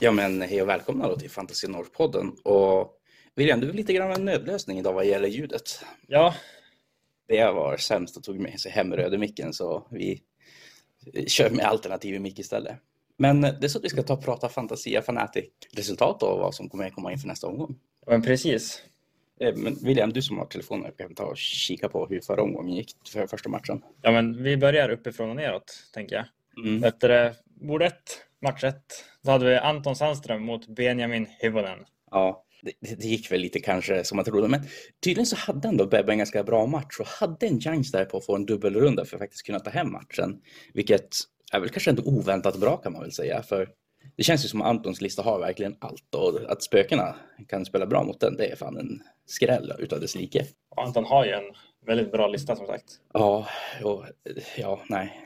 Ja men hej och välkomna då till Fantasy North-podden. Och William, du är lite grann en nödlösning idag vad gäller ljudet. Ja, Det var sämst och tog med sig hem röde micken så vi kör med alternativ mick istället. Men det är så att vi ska ta och prata Fantasia Fanatic resultat och vad som kommer komma in för nästa omgång. men precis. Eh, Men William, du som har telefonen, kan ta och kika på hur förra omgången gick för första matchen. Ja, men vi börjar uppifrån och neråt, tänker jag. Mm. Efter det, bord ett, match ett, då hade vi Anton Sandström mot Benjamin Hyvonen. Ja, det, det det gick väl lite kanske som man trodde, men tydligen så hade ändå Bebbe en ganska bra match och hade en chans där på att få en dubbelrunda för att faktiskt kunna ta hem matchen. Vilket är väl kanske ändå oväntat bra kan man väl säga, för det känns ju som att Antons lista har verkligen allt och att spökena kan spela bra mot den, det är fan en skräll utav dess like. Och Anton har ju en väldigt bra lista som sagt. Ja, och, ja, nej.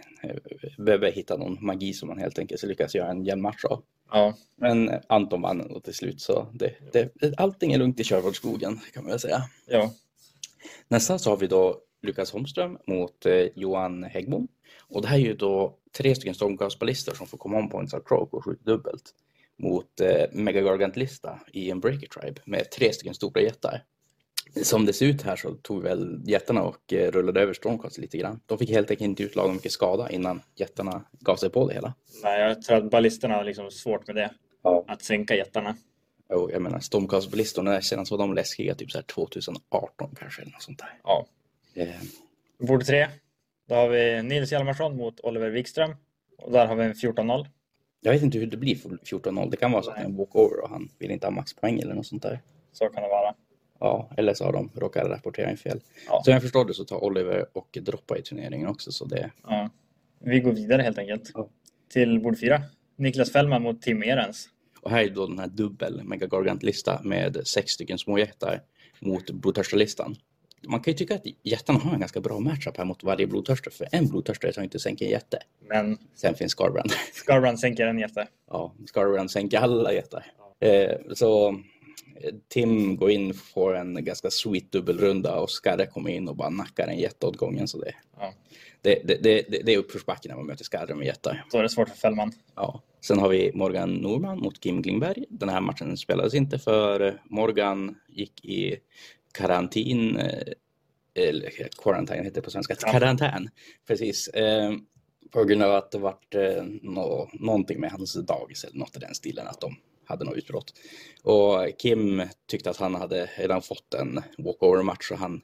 Bebbe hittar någon magi som man helt enkelt lyckas göra en jämn match av. Ja, Men Anton vann ändå till slut så det, det, allting är lugnt i Körvårdsskogen kan man väl säga. ja, Nästa så har vi då Lukas Holmström mot eh, Johan Häggbom. Och det här är ju då tre stycken stormgasballister som får komma om points av Croak och skjuta dubbelt mot eh, Mega Gargant-lista i en Breaker Tribe med tre stycken stora jättar. Som det ser ut här så tog väl jättarna och eh, rullade över Stormcast lite grann. De fick helt enkelt inte ut lagom mycket skada innan jättarna gav sig på det hela. nej, jag tror att ballisterna har liksom svårt med det, Ja. att sänka jättarna. Och jag menar Stormcast-ballistorna, senast var de läskiga typ så här 2018 kanske eller något sånt där. Ja. Eh, Bord tre, då har vi Nils Hjalmarsson mot Oliver Wikström. Och där har vi en 14-0. Jag vet inte hur det blir för 14-0. Det kan vara så att det är en walkover och han vill inte ha maxpoäng eller något sånt där. Så kan det vara. Ja, eller så har de råkat rapportera in fel. Ja. Så jag förstår det så tar Oliver och droppar i turneringen också. Så det, Ja. Vi går vidare helt enkelt. Ja. Till bord fyra. Niklas Fällman mot Tim Ehrens. och här är då den här dubbel megagargantlista med sex stycken småjättar mot blodtörstarlistan. Man kan ju tycka att jättarna har en ganska bra matchup här mot varje blodtörstare. För en blodtörstare tar inte sänka en jätte. Men Sen finns Scarbrand. Scarbrand sänker en jätte. Ja, Scarbrand sänker alla jättar. Eh, så eh, Tim går in, får en ganska sweet dubbelrunda och Skarre kommer in och bara nackar en jätte åt gången. Så det, Ja. det, det, det, det- det är uppförsbacke när man möter Skarre med jättar. Då är det svårt för Fällman. Ja. Sen har vi Morgan Norman mot Kim Klingberg. Den här matchen spelades inte för Morgan gick i karantin, eh, eller quarantine heter det på svenska, Ja. karantän. Precis. Eh, På grund av att det vart eh, nå- någonting med hans dagis eller något i den stilen, att de hade något utbrott. Och Kim tyckte att han hade redan fått en walkover-match och han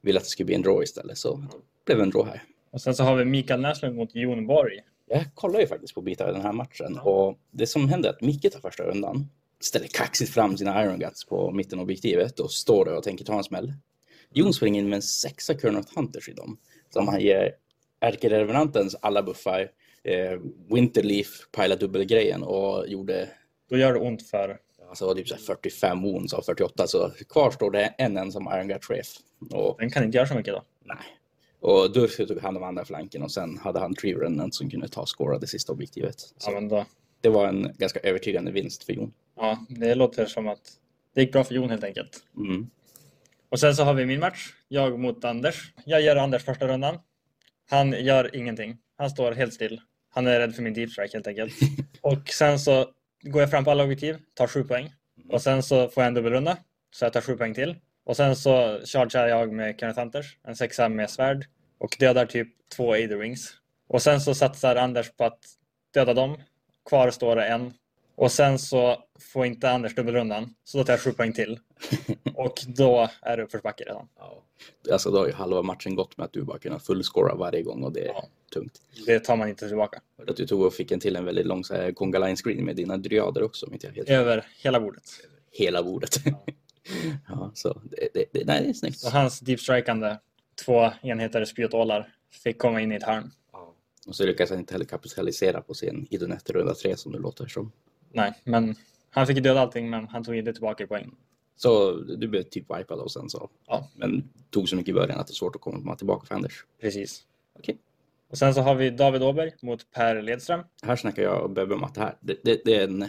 ville att det skulle bli en draw istället, så det blev en draw här. Och sen så har vi Mikael Näslund mot Jon Borg. Jag kollar ju faktiskt på bitar av den här matchen och det som händer är att Micke tar första rundan, ställer kaxigt fram sina Iron Guts på mitten av objektivet och står där och tänker ta en smäll. Jon springer in med en sexa Current Hunters i dem som han ger ärkerevenantens alla buffar, eh, Winterleaf, pajla dubbelgrejen och gjorde Då gör det ont för... alltså, det var typ så här 45 wounds av 48 så kvar står det en ensam Iron Gut chef och Den kan inte göra så mycket då. Nej. Och Dursu tog hand om andra flanken och sen hade han Tree Remnant som kunde ta och scora det sista objektivet. Så Ja, men då. Det var en ganska övertygande vinst för Jon. ja, det låter som att det gick bra för Jon helt enkelt. Mm. Och sen så har vi min match. Jag mot Anders. Jag ger Anders första rundan. Han gör ingenting. Han står helt still. Han är rädd för min deep strike helt enkelt. Och sen så går jag fram på alla objektiv, tar sju poäng. Och sen så får jag en dubbelrunda, så jag tar sju poäng till. Och sen så chargear jag med Kenneth Hunters, en sexa med svärd. Och dödar typ två Aetherwings. Och sen så satsar Anders på att döda dem. Kvar står det en. Och sen så får inte Anders dubbelrundan, så då tar jag sju poäng till. Och då är det uppförsbacke redan. Alltså då har ju halva matchen gått med att du bara kunnat fullscora varje gång och det är Ja. tungt. Det tar man inte tillbaka. Hörde Att du tog och fick en till en väldigt lång så här Conga Line screen med dina dryader också om inte jag helt Över hela bordet. hela bordet. Ja. så det, det, det, nej, det är snyggt. Så hans deep strikeande två enheter spjutålar fick komma in i ett hörn. Och så lyckas han inte heller kapitalisera på sin Idonetter runda 3 som det låter som. Nej, men han fick ju döda allting, men han tog inte tillbaka i poäng. Så du blev typ wipad och sen så. Ja. Men tog så mycket i början att det är svårt att komma tillbaka för Anders. Precis. Okej. Och sen så har vi David Åberg mot Per Ledström. Här snackar jag och Bebbe om att det här, det, det, det är en eh,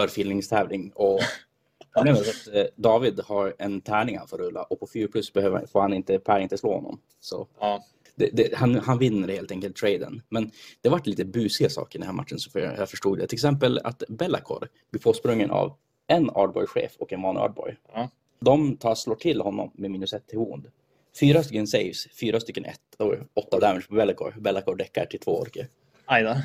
örfilningstävling och problemet är att eh, David har en tärning han får rulla och på 4 plus behöver, får han inte, Per inte slå honom. Så Ja, det, det, han, han vinner helt enkelt traden. Men det vart lite busiga saker i den här matchen så för jag jag förstod det. Till exempel att Bellacor blir påsprungen av en Ardboy-chef och en vanlig Ardboy. Ja. De tar, slår till honom med minus ett till hond. Fyra stycken saves, fyra stycken ett och åtta damage på Bellacor. Bellacor däckar till två orker. Aj då.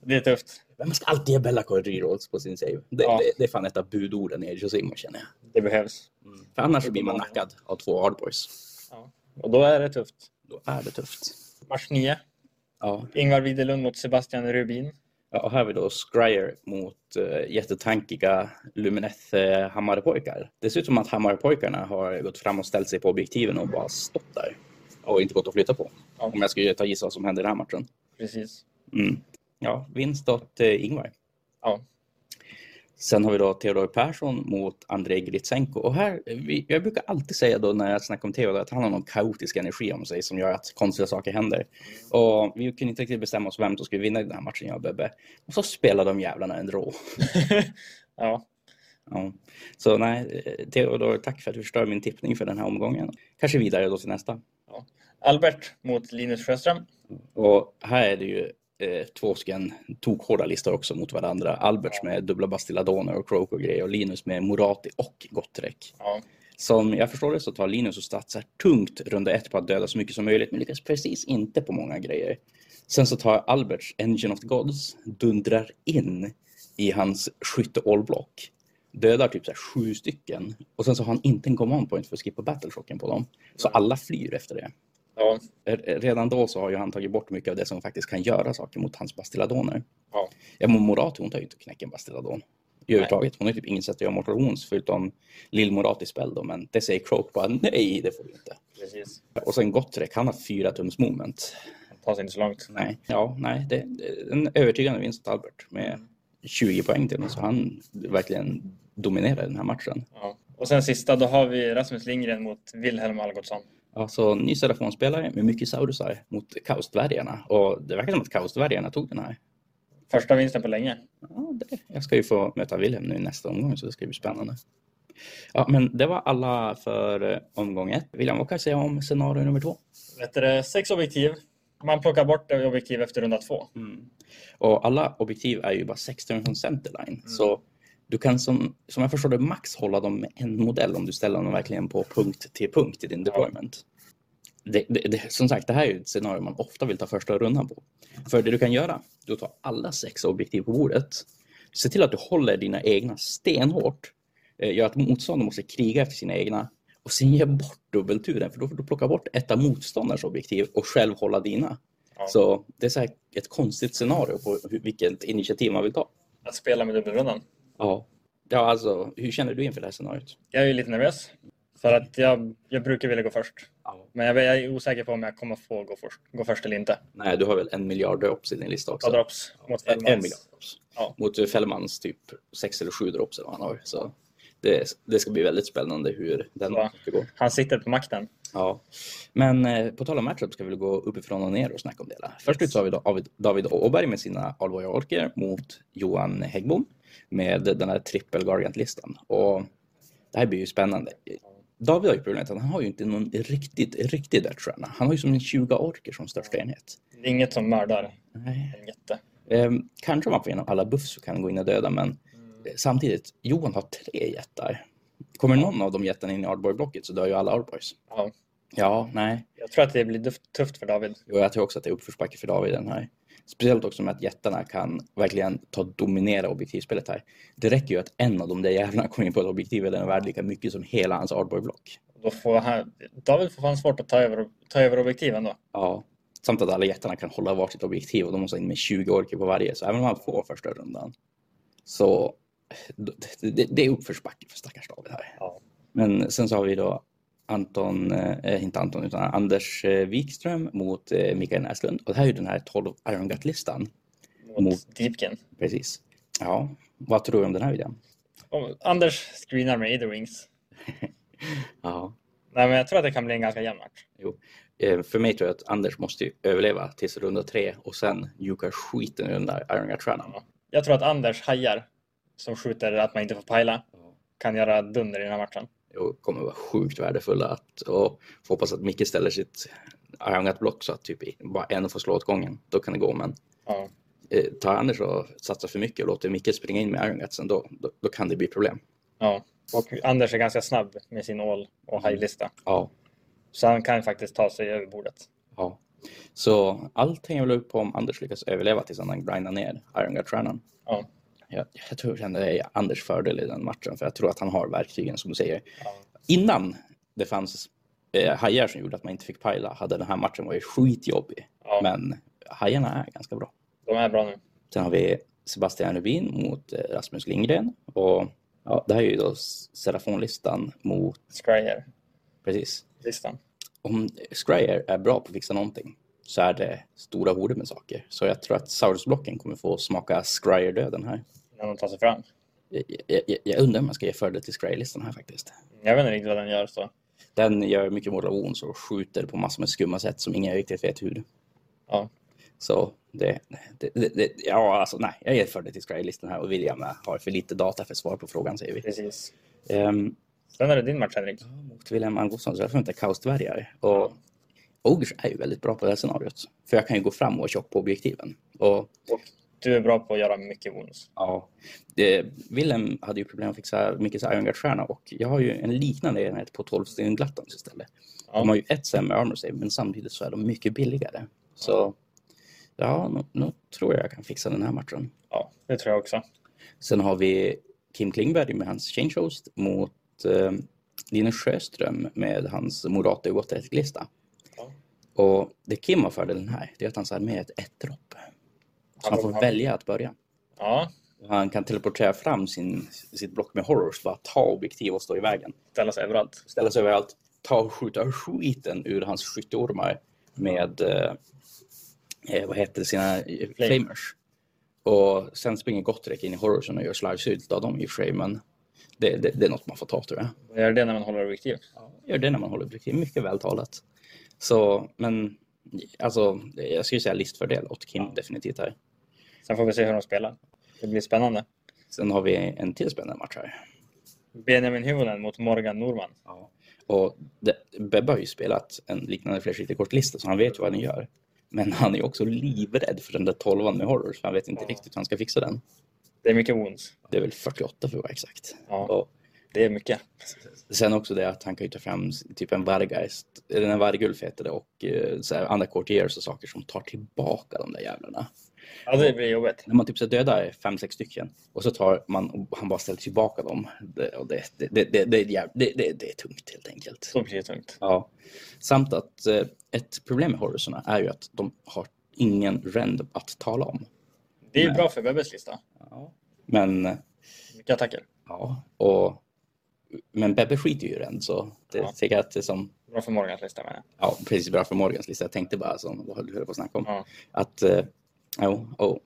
Det är tufft. Men man ska alltid ge Bellacor rerolls på sin save. Det, Ja. det, det är fan ett av budorden i Age of Sigmar känner jag. Det behövs. För annars blir man nackad av två hardboys. Ja. Och då är det tufft. Då är det tufft. Match 9. Ja. Ingvar Widerlund mot Sebastian Rubin. Ja, och här har vi då Scryer mot eh, jättetankiga Lumineth eh, Hammarpojkar. Det ser ut som att Hammarpojkarna har gått fram och ställt sig på objektiven och bara stått där. Och inte gått att flytta på. Ja. Om jag skulle ta gissa vad som hände i den här matchen. Precis. Mm. Ja, vinst åt eh, Ingvar. Ja. Sen har vi då Theodor Persson mot Andrei Gritsenko. Och här, eh, vi, jag brukar alltid säga då när jag snackar om Theodor att han har någon kaotisk energi om sig som gör att konstiga saker händer. Och vi kunde inte riktigt bestämma oss vem som skulle vinna i den här matchen, jag och Bebbe. Och så spelade de jävlarna en draw. ja. Ja. Så nej, eh, Theodor, tack för att du förstör min tippning för den här omgången. Kanske vidare då till nästa. Albert mot Linus Sjöström. Och här är det ju eh, två stycken tokhårda listor också mot varandra. Alberts med dubbla Bastilladoner och Croak och grejer och Linus med Morati och Gottrek. Ja. Som jag förstår det så tar Linus och Statsar tungt runda ett på att döda så mycket som möjligt men lyckas precis inte på många grejer. Sen så tar Alberts Engine of the Gods, dundrar in i hans skytte-allblock, dödar typ så här sju stycken och sen så har han inte en command point för att skippa battleshocken på dem. Så alla flyr efter det. Ja. R- redan då så har ju han tagit bort mycket av det som faktiskt kan göra saker mot hans bastilladoner. Ja. Ja, men Morati hon tar ju inte knäcken bastilladon i överhuvudtaget. Hon har ju typ inget sätt att göra mortal wounds förutom lill Morati spel då, men det säger Croak bara nej, det får du inte. Precis. Och sen Gottrek, han har fyra tums moment. Ta sig inte så långt. Nej, ja, nej, det det- en övertygande vinst åt Albert med 20 poäng till honom, så han verkligen dominerar den här matchen. Ja. Och sen sista, då har vi Rasmus Lindgren mot Wilhelm Algotsson. Alltså ny Serafonspelare med mycket saurusar mot Kaosdvärgarna och det verkar som att Kaosdvärgarna tog den här. Första vinsten på länge. Ja, det. Jag ska ju få möta Wilhelm nu i nästa omgång så det ska bli spännande. Ja, men det var alla för eh, omgång ett. William, vad kan jag säga om scenario nummer två? Vet du, det, sex objektiv. Man plockar bort ett objektiv efter runda två. Mm. Och alla objektiv är ju bara 16 från centerline. Så du kan som, som jag förstår det max hålla dem med en modell om du ställer dem verkligen på punkt till punkt i din Ja. deployment. Det, det, det, som sagt, det här är ju ett scenario man ofta vill ta första rundan på. För det du kan göra, du tar alla sex objektiv på bordet. Se till att du håller dina egna stenhårt. Eh, Gör att motståndaren måste kriga efter sina egna. Och sen ge bort dubbelturen, för då får du plocka bort ett av motståndarens objektiv och själv hålla dina. Ja. Så det är så här ett konstigt scenario på hur, vilket initiativ man vill ta. Att spela med dubbelrundan. Ja. Ja, alltså, hur känner du inför det här scenariot? Jag är ju lite nervös. För att jag, jag brukar vilja gå först. Ja. Men jag, jag är osäker på om jag kommer få gå först, gå först eller inte. Nej, du har väl en miljard drops i din lista också? Ta drops mot en, en miljard Fellmans. drops. Ja. Mot Fällmans typ sex eller sju drops eller vad han har. Så det, det ska bli väldigt spännande hur den Ja. matchen ska gå. Han sitter på makten. Ja. Men eh, på tal om matchup ska vi väl gå uppifrån och ner och snacka om det. Där. Först ut så har vi då David- David Åberg med sina Alvoja Orker mot Johan Häggbom med den här trippel Gargant-listan. Och det här blir ju spännande. David har ju problemet att han har ju inte någon riktigt, riktig dödsstjärna. Han har ju som en 20 orker som största enhet. Det är inget som mördar Nej. en jätte. Ehm, kanske om man får igenom alla buffs så kan han gå in och döda, men eh, samtidigt, Johan har tre jättar. Kommer någon av de jättarna in i Ardborg-blocket så dör ju alla Ardborgs. Ja. Ja, nej. Jag tror att det blir duft- tufft för David. Och jag tror också att det är uppförsbacke för David den här. Speciellt också med att jättarna kan verkligen ta dominera objektivspelet här. Det räcker ju att en av de där jävlarna kommer in på ett objektiv eller är värd lika mycket som hela hans Ardborg-block. Då får han, David får fan svårt att ta över, ta över objektiven då. Ja. Samt att alla jättarna kan hålla varsitt objektiv och de måste ha in med 20 orker på varje. Så även om han får första rundan så det, det, det är uppförsbacke för stackars David här. Ja. Men sen så har vi då Anton, eh, inte Anton, utan Anders eh, Wikström mot eh, Mikael Näslund. Och det här är ju den här 12 Iron Gut-listan. Mot Mot- Deepkin. Precis. Ja, vad tror du om den här videon? Om Anders screenar med Aderwings. Ja. Eh, Nej, men jag tror att det kan bli en ganska jämn match. För mig tror jag att Anders måste ju överleva tills runda tre och sen jukar skiten ur den där Iron Gut-stjärnan. Jag tror att Anders hajar som skjuter att man inte får pajla kan göra dunder i den här matchen. Och kommer vara sjukt värdefulla att, och får hoppas att Micke ställer sitt har han ett block så att typ bara en får slå åt gången, då kan det gå. Men Ja. eh, tar Anders och satsar för mycket och låter Micke springa in med Irongatsen, då, då, då kan det bli problem. ja. Och Anders är ganska snabb med sin all och Mm. high-lista. Ja, Så han kan faktiskt ta sig över bordet. ja. Så allt hänger väl upp på om Anders lyckas överleva tills han grindar ner Irongat-stjärnan. Ja. Jag, jag tror att det är Anders fördel i den matchen, för jag tror att han har verktygen som du säger. Ja. Innan det fanns eh, hajar som gjorde att man inte fick pajla hade den här matchen varit skitjobbig. Ja, Men hajarna är ganska bra. De är bra nu. Sen har vi Sebastian Rubin mot eh, Rasmus Lindgren. Och ja, det här är ju då S- Serafonlistan mot, Scryer-listan. precis. Om Scryer är bra på att fixa någonting så är det stora horder med saker. Så jag tror att Saurusblocken kommer få smaka Scryer-döden här. När de tar sig fram. Jag, jag, jag- jag undrar om jag ska ge fördel till Scryer-listan här faktiskt. Jag vet inte riktigt vad den gör så. Den gör mycket mål av ons och skjuter på massor med skumma sätt som ingen riktigt vet hur. Ja. Så det, det, det, det ja alltså nej, jag ger fördel till Scryer-listan här och William har för lite data för svar på frågan säger vi. Precis. Ehm, Sen är det din match Henrik. mot William Algotsson så jag får inte kaosdvärgar. Och Ogers är ju väldigt bra på det här scenariot. För jag kan ju gå fram och tjock på objektiven. Och Du är bra på att göra mycket bonus. ja, det, Willem hade ju problem att fixa Mickes Irongard-stjärna och jag har ju en liknande enhet på 12 stycken Glattans istället. Ja. De har ju ett sämre armor save men samtidigt så är de mycket billigare. Så ja, nu, nu tror jag jag kan fixa den här matchen. Ja, det tror jag också. Sen har vi Kim Klingberg med hans Change Host mot eh, Linus Sjöström med hans Morato och lista. Ja. Och det Kim har fördelen här, det är att han så här med ett ett-dropp. Så han Alltså, får han- välja att börja. Ja, Han kan teleportera fram sin, sitt block med horrors, bara ta objektiv och stå i vägen. ställa sig överallt. Ställa sig överallt, ta och skjuta skiten ur hans skytteormar med, eh, eh, vad heter det, sina eh, flamers. Och sen springer Gottrek in i horrorsen och gör slivesylt av dem i framen. Det, det, det är något man får ta tror jag. Vad gör det när man håller objektiv? Gör det när man håller objektiv, mycket vältalat. Så, men alltså, jag skulle säga listfördel åt Kim definitivt här. Sen får vi se hur de spelar. Det blir spännande. Sen har vi en till spännande match här. Benjamin Huvonen mot Morgan Norman. Och det, Bebbe har ju spelat en liknande flerskiftig-kortlista så han vet ju vad han gör. Men han är ju också livrädd för den där tolvan med horror så han vet inte Ja. riktigt hur han ska fixa den. Det är mycket wounds. Det är väl 48 för att vara exakt. Ja, Och det är mycket. sen också det att han kan ju ta fram s- typ en varggeist, eller en vargulf heter det, och eh, så här andra courtiers och saker som tar tillbaka de där jävlarna. Ja, det blir jobbigt. När man typ så dödar fem, sex stycken och så tar man och han bara ställer tillbaka dem. Det, och det, det, det, det, det, är jäv- det, det, det är tungt helt enkelt. Så blir det tungt. Ja. Samt att eh, ett problem med horrorsarna är ju att de har ingen rend att tala om. Det är ju Nej. bra för Bebbes lista. Men, eh, Mycket attacker. ja, och, men Bebbe skiter ju i rend så det Ja. tycker jag att det är som, Bra för Morgans lista menar jag. ja precis bra för Morgans lista. Jag tänkte bara som, vad höll du höll på att snacka om? Ja. Att, eh, jo, och,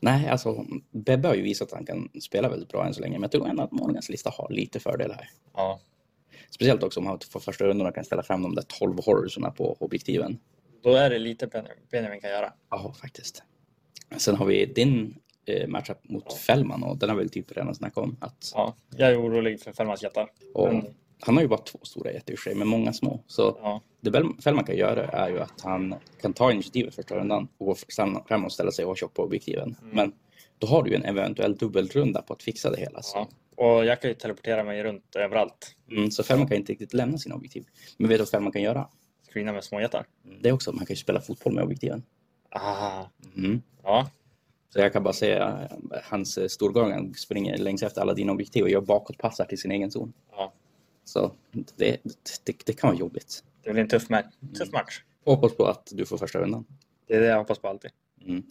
nej alltså Bebbe har ju visat att han kan spela väldigt bra än så länge men jag tror ändå att Morgans lista har lite fördel här. Ja. Speciellt också om han får första rundan och kan ställa fram de där 12 horrorsorna på objektiven. Då är det lite Ben- Benjamin kan göra. Ja, faktiskt. Sen har vi din eh, matchup mot Fällman och den har vi väl typ redan snackat om. Att, Ja. Jag är orolig för Fällmans jättar. och, Men, Han har ju bara två stora jätter i och för sig, men många små. Så ja. det Bell- Fällman kan göra är ju att han kan ta initiativet första rundan och gå fram fram och ställa sig och ha tjock på objektiven. Mm. Men då har du ju en eventuell dubbelrunda på att fixa det hela. Så, ja. Och jag kan ju teleportera mig runt överallt. mm, så Fällman kan inte riktigt lämna sina objektiv. Men vet du vad Fällman kan göra? Screena med småjättar. Det är också, man kan ju spela fotboll med objektiven. Ah. Mm. Ja. Så jag kan bara säga, hans eh, storgångaren springer längs efter alla dina objektiv och gör bakåtpassar till sin egen zon. ja. Så det, det, det kan vara jobbigt. Det blir en tuff, ma- tuff match. Och hoppas på att du får första rundan. Det är det jag hoppas på alltid. Mm.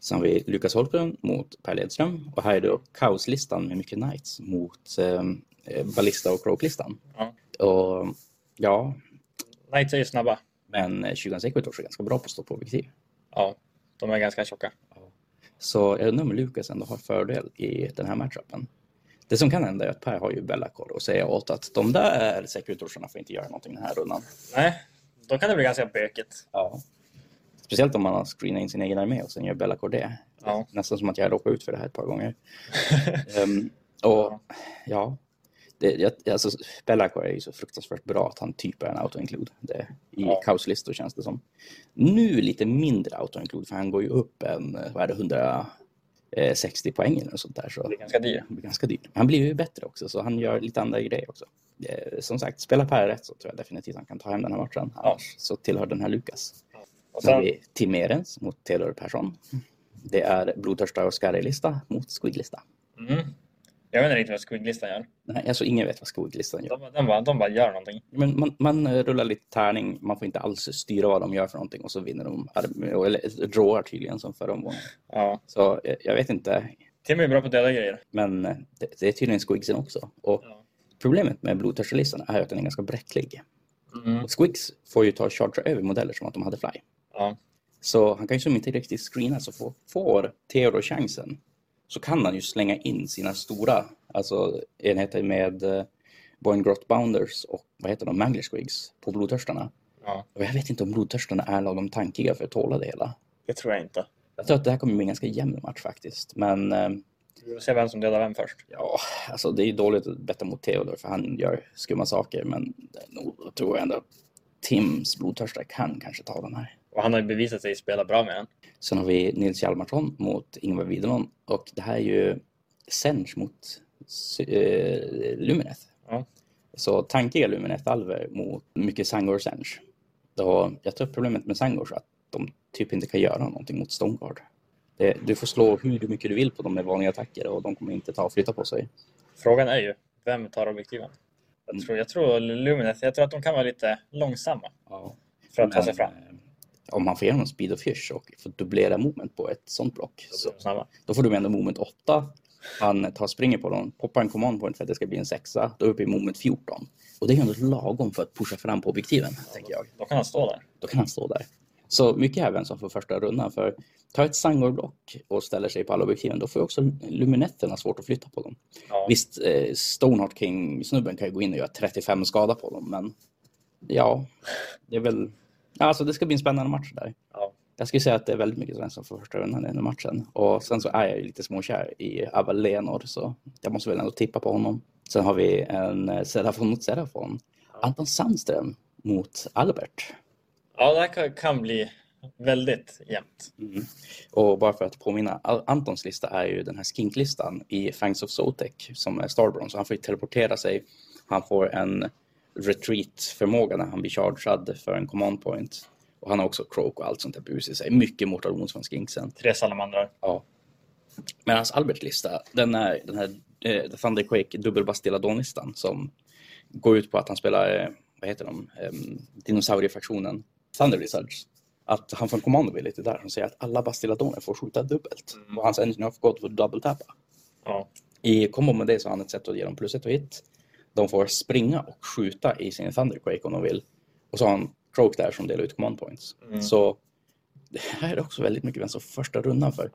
Sen har vi Lukas Holmgren mot Per Ledström och här är då kaoslistan med mycket knights mot eh, eh, Ballista och Croak-listan. Ja. Och ja, Knights är ju snabba. men eh, 20 Equitors är ganska bra på att stå på objektiv. Ja. De är ganska tjocka. Så jag undrar om Lukas ändå har fördel i den här matchupen. Det som kan hända är att Per har ju Bellacore och säga åt att de där sekuritorsarna får inte göra någonting den här rundan. Nej, då kan det bli ganska bökigt. Ja. Speciellt om man har screenat in sin egen armé och sen gör Bellacore det. Ja. Nästan som att jag råkade ut för det här ett par gånger. Ehm, och ja, Det, jag, alltså, Bellacore är ju så fruktansvärt bra att han typ är en auto-include. Det, I Ja. kaoslistor känns det som. Nu lite mindre auto-include för han går ju upp en, vad är det, 160 poäng eller något sånt där. Så Det är ganska dyrt. han blir ganska dyr. Han blir ju bättre också, så han gör lite andra grejer också. Eh, Som sagt, spelar Per rätt så tror jag definitivt han kan ta hem den här matchen. Annars så tillhör den här Lukas. Och Sen har sen, vi Tim Ehrens mot Theodor Persson. Det är blodtörstar och skarrig-lista mot squiglista. mm, jag vet inte riktigt vad squigglistan gör. Nej, alltså ingen vet vad squiglisten gör. De, bara- den bara, de bara gör någonting. Men man, man eh, rullar lite tärning, man får inte alls styra vad de gör för någonting och så vinner de, arm- eller dråar tydligen som förra omgången. Ja. Så eh, jag vet inte, Timmy är bra på att döda grejer. men eh, det, det är tydligen squigsen också. Och Ja. problemet med blodtörstarlistan är att den är ganska bräcklig. Mm. Och Squigs får ju ta och chartra över modeller som att de hade fly. Ja. Så han kan ju som inte riktigt screena, så får, får Theodor chansen så kan han ju slänga in sina stora alltså enheter med eh, Boingrot Bounders och vad heter de, Mangler Squigs på blodtörstarna. Ja. Och jag vet inte om blodtörstarna är lagom tankiga för att tåla det hela. Det tror jag inte. Jag tror att det här kommer bli en ganska jämn match faktiskt. Men eh, Vi får se vem som dödar vem först. ja, alltså det är ju dåligt att betta mot Theodor för han gör skumma saker. Men det- nog tror jag ändå att Tims blodtörstar kan kanske ta den här. Och han har ju bevisat sig spela bra med den. Sen har vi Nils Hjalmarsson mot Ingvar Widerman och det här är ju Sench mot Sy- eh, Lumineth. Ja. Så tankiga Lumineth-alver mot mycket Sangor Sench. Då, jag tror problemet med Sangor är att de typ inte kan göra någonting mot Stoneguard. Det, du får slå hur mycket du vill på dem med vanliga attacker och de kommer inte ta och flytta på sig. Frågan är ju, vem tar objektiven? Jag tror, jag tror Lumineth, jag tror att de kan vara lite långsamma för att ta sig Men, fram. eh, Om man får igenom Speed of Fish och får dubblera moment på ett sånt block Så så blir de snabba. Då får du ändå moment 8. Han tar springer på dem, poppar en command point för att det ska bli en sexa. Då är vi uppe i moment 14. Och det är ändå lagom för att pusha fram på objektiven, tänker jag. Då kan han stå där. Då kan han stå där. Så mycket här vem som får första rundan. För ta ett Sangor-block och ställer sig på alla objektiven, då får ju också luminetterna svårt att flytta på dem. Ja. Visst, eh, Stoneheart King-snubben kan ju gå in och göra 35 skada på dem, men ja, det är väl... Ja, Alltså det ska bli en spännande match där. Ja. Jag skulle säga att det är väldigt mycket Svensson för första rundan i den här matchen. Och sen så är jag ju lite småkär i Abba Lenor, så jag måste väl ändå tippa på honom. Sen har vi en eh, Serafon mot Serafon. Anton Sandström mot Albert. ja, det här kan- kan bli väldigt jämnt. Och bara för att påminna, Al- Antons lista är ju den här skinklistan i Fangs of Zotek som är Starbron. Så han får ju teleportera sig. Han får en retreat-förmåga när han blir chargead för en command point. Och han har också croak och allt sånt där bus i sig. Mycket Mortal Wounds från skinksen. Tre salamandrar. Ja. Medan Alberts lista, den är den här eh, The Thunderquake dubbelbastiladon-listan som går ut på att han spelar, eh, vad heter de, eh, dinosauriefraktionen Thunder Lizards. Att han får en commando lite där som säger att alla bastiladoner får skjuta dubbelt. Mm. Och hans Engine of God får double-tappa. Ja. I kombo med det så har han ett sätt att ge dem plus ett och hit. De får springa och skjuta i sin Thunderquake om de vill. Och så har han Croak där som delar ut command points. Mm. Så det här är också väldigt mycket vem som får första rundan för.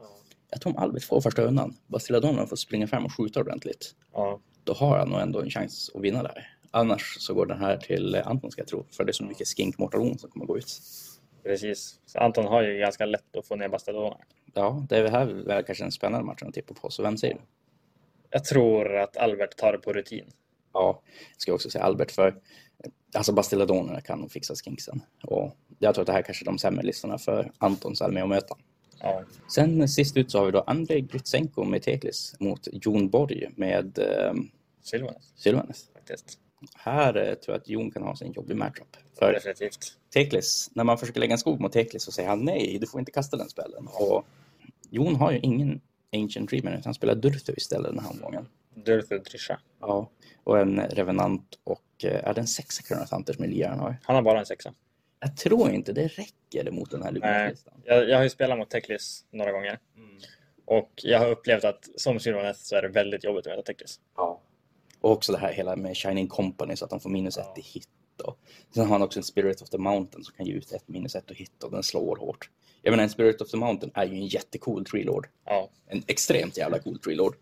Jag tror om Albert får första rundan, Bastiladonerna får springa fram och skjuta ordentligt, Ja. då har han nog ändå en chans att vinna där. Annars så går den här till eh, Anton ska jag tro, för det är så mycket skink mortalon som kommer gå ut. Precis. Så Anton har ju ganska lätt att få ner Bastadonerna. Ja, det är väl här väl kanske den spännande matchen att tippa på, så vem säger du? Jag tror att Albert tar det på rutin. Ja, jag ska också säga Albert, för alltså Bastiladonerna kan nog fixa skinksen. Och jag tror att det här kanske är de sämre listorna för Antons armé att möta. Ja. Sen sist ut så har vi då Andrei Grytsenko med Teklis mot Jon Borg med eh, Sylvanas Sylvanes. faktiskt. Här eh, tror jag att Jon kan ha sin jobbig matchup. För Definitivt. Teklis, när man försöker lägga en skog mot Teklis så säger han nej, du får inte kasta den spelen. Och Jon har ju ingen Ancient Dreamer utan han spelar Durthu istället den här omgången. Durthu Trisha. Ja, och en Revenant och eh, är det en sexa Kronotanter som Elian har? Han har bara en sexa. Jag tror inte det räcker mot den här Luminous-listan. Jag, jag har ju spelat mot Teklis några gånger och jag har upplevt att som Sylvanas så är det väldigt jobbigt att möta Teklis. Ja. Och också det här hela med Shining Company så att de får minus Ja. ett i hit. Och sen har han också en Spirit of the Mountain som kan ge ut ett minus ett och hit och den slår hårt. Jag menar en Spirit of the Mountain är ju en jättecool Tree Lord. Ja. En extremt jävla cool Tree Lord.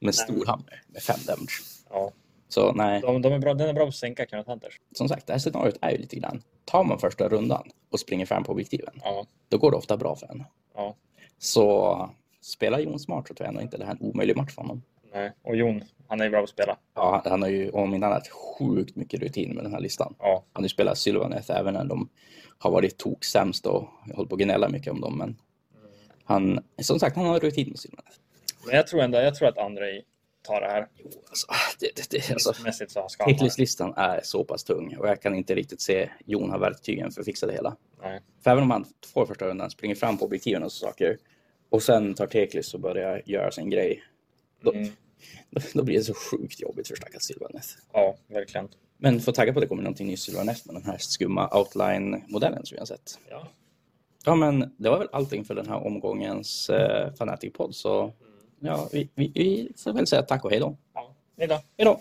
Med stor hammer med fem damage. ja. Så nej, De, de är bra, den är bra på att sänka Kenneth Hunters. som sagt det här scenariot är ju lite grann. Tar man första rundan och springer fram på objektiven, Ja. då går det ofta bra för en. ja. Så spelar Jon smart så tror jag ändå inte det här är en omöjlig match för honom. Nej. Och Jon Han är ju bra på att spela. Ja, han har ju om inte annat sjukt mycket rutin med den här listan. Ja. Han har ju spelat Sylvaneth även när de har varit toksämst och hållit på att gnälla mycket om dem. Men han, som sagt, han har rutin med Sylvaneth. Men jag tror ändå, jag tror att Andrei tar det här. Alltså, det, det, det, alltså, Mässigt så ska han ha det. Checklist-listan är så pass tung och jag kan inte riktigt se Jon har verktygen för att fixa det hela. Nej. För även om han får första rundan, springer fram på objektiven och så saker och sen tar Teklis och börjar göra sin grej, då, Mm. då, då blir det så sjukt jobbigt för stackars Sylvaneth. Ja, verkligen. Men för att tagga på det kommer någonting nytt Sylvaneth med den här skumma outline-modellen som vi har sett. Ja. Ja, men det var väl allting för den här omgångens eh, Fanatic-podd, så ja, vi, vi, vi får väl säga tack och hej då. ja. Hej då. Hej då!